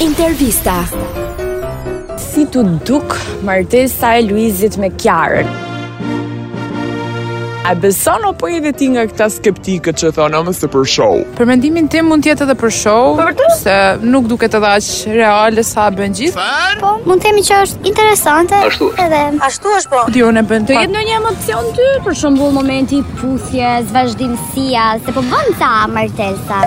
Intervista. Si t'u duk martesa e Luizit me Kiarën? A beson apo edhe ti nga këta skeptikët që thonë mos të për show? Për mendimin tim mund të jetë edhe për show, se nuk duket edhe aq reale sa bën gjithë. Po, mund të themi që është interesante. Ashtu Edhe Ashtu është po. Di unë e bën Të pak. jetë në një emocion ty? për shembull momenti i puthjes, vazhdimësia, se po bën ca martesa.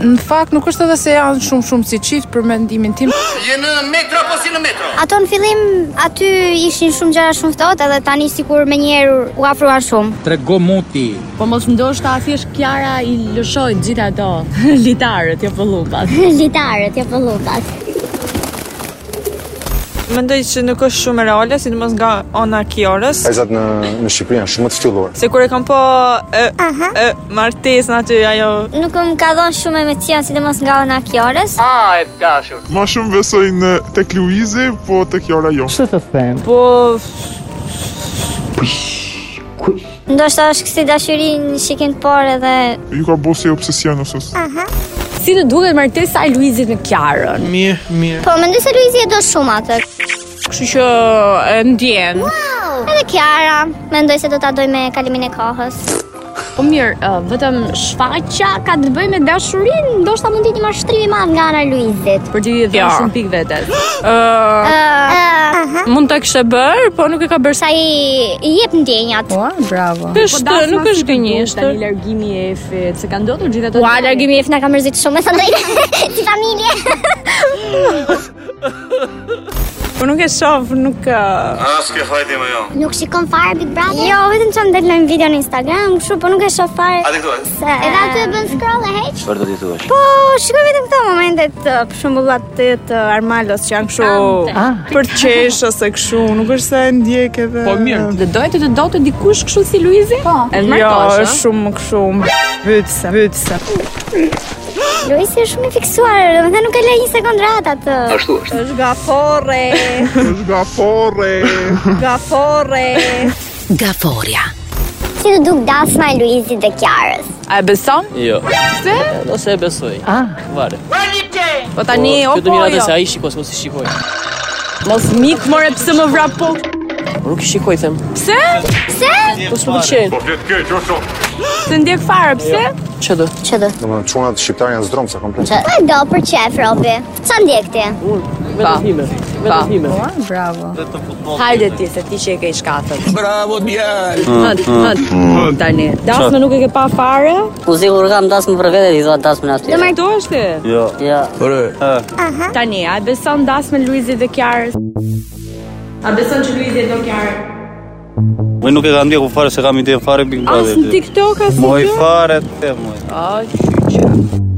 Në fakt nuk është edhe se janë shumë shumë si çift për mendimin tim. Je në metro apo si në metro? Ato në fillim aty ishin shumë gjëra shumë ftohtë edhe tani sikur me njerë u afruan shumë. Trego muti. Po mos ndoshta thjesht Kiara i lëshoi gjithë ato litarët, jo pëllumbat. Litarët jo pëllukat. Mendoj që nuk është shumë e reale, sidomos nga ana e Kiarës, Vajzat në në Shqipëri janë shumë të ftylluar. se kur e po, kam pa e, e martesën aty ajo Nuk më ka dhënë shumë emocion sidomos nga ona Kiorës. Ah, e dashur. Ma shumë besoj në tek Luizi, po tek Jora jo. po Ndoshta është kësi dashuri në shikim të parë edhe Ju ka bosi obsesion ose. Si të duket martesa e Luizit me Kiarën? Po, mendoj se Luizi e do shumë atë. Kështu që e ndjen. Edhe Kiara, mendoj se do ta doj me kalimin e kohës. Po mirë, ë, vetëm shfaqja ka të bëjë me dashurinë, Ndoshta mund të jetë një mashtrim i madh nga ana e Luizit. për ti i dhënë shumë pikë vetes. Ë, Ah. mund ta kishe bër, po nuk e ka bërë sa. Sa i i jep ndjenjat. Është, Po, nuk është gënjeshtër. Tani largimi i Efit, se kanë ndodhur gjithë ato. Ua, largimi i Efna ka mërzit shumë, sa ndaj si familje. Po nuk e shoh, nuk ë, Ah, s'ke fajti më jo. Nuk shikon fare Big Brother? Jo, vetëm çam del në një video në Instagram, kështu, po nuk e shoh fare. A ti këtu? Se edhe aty e bën scroll e heq. Çfarë do t'i thuash? po shikoj vetëm këto momentet, ë, për shembull atë të Armalos që janë kështu për qesh ose kështu, nuk është se e ndjek edhe. Po mirë. Dhe dojtë të dote dikush kështu si Luizi? Po. E Jo, martosh, është shumë kështu mbytse, mbytse. Luisi është shumë i fiksuar, domethënë nuk e lë një sekond rahat atë. Ashtu është. Është gaforre. Gaforia. Si do duk dasma e Luizit dhe Kiarës? A e beson? Jo. Se? Ose e besoj. Ah. Vare. Po tani, o Kjo do po mira të jo. se ai shikoj mos i shikoj. Mos mik more pse më vrapo. Nuk i shikoj them. Pse? Po s'u pëlqen. flet keq, o shok. Se ndjek fare, pse? Ç'e do? Çdo. Domethënë çunat shqiptarë janë zdromsa komplet. Po e do për çef Robi. Sa ndjek ti? Vetëm hime. Vetëm hime. Po, Hajde ti se ti që e ke i shkatët. Mm, Bravo djalë. Hënd, tani. Dasmë nuk e ke pa fare? U sigur kam dasmë për vete, i thua dasmën ashtu. Më do është. Ja, Tani, a e beson dasmën Luizit dhe Kiarës? A beson që Luizi e do Kiarën? Unë nuk e kam ndjeku fare se kam ide fare Big As në TikTok as në fare te moj. Aq.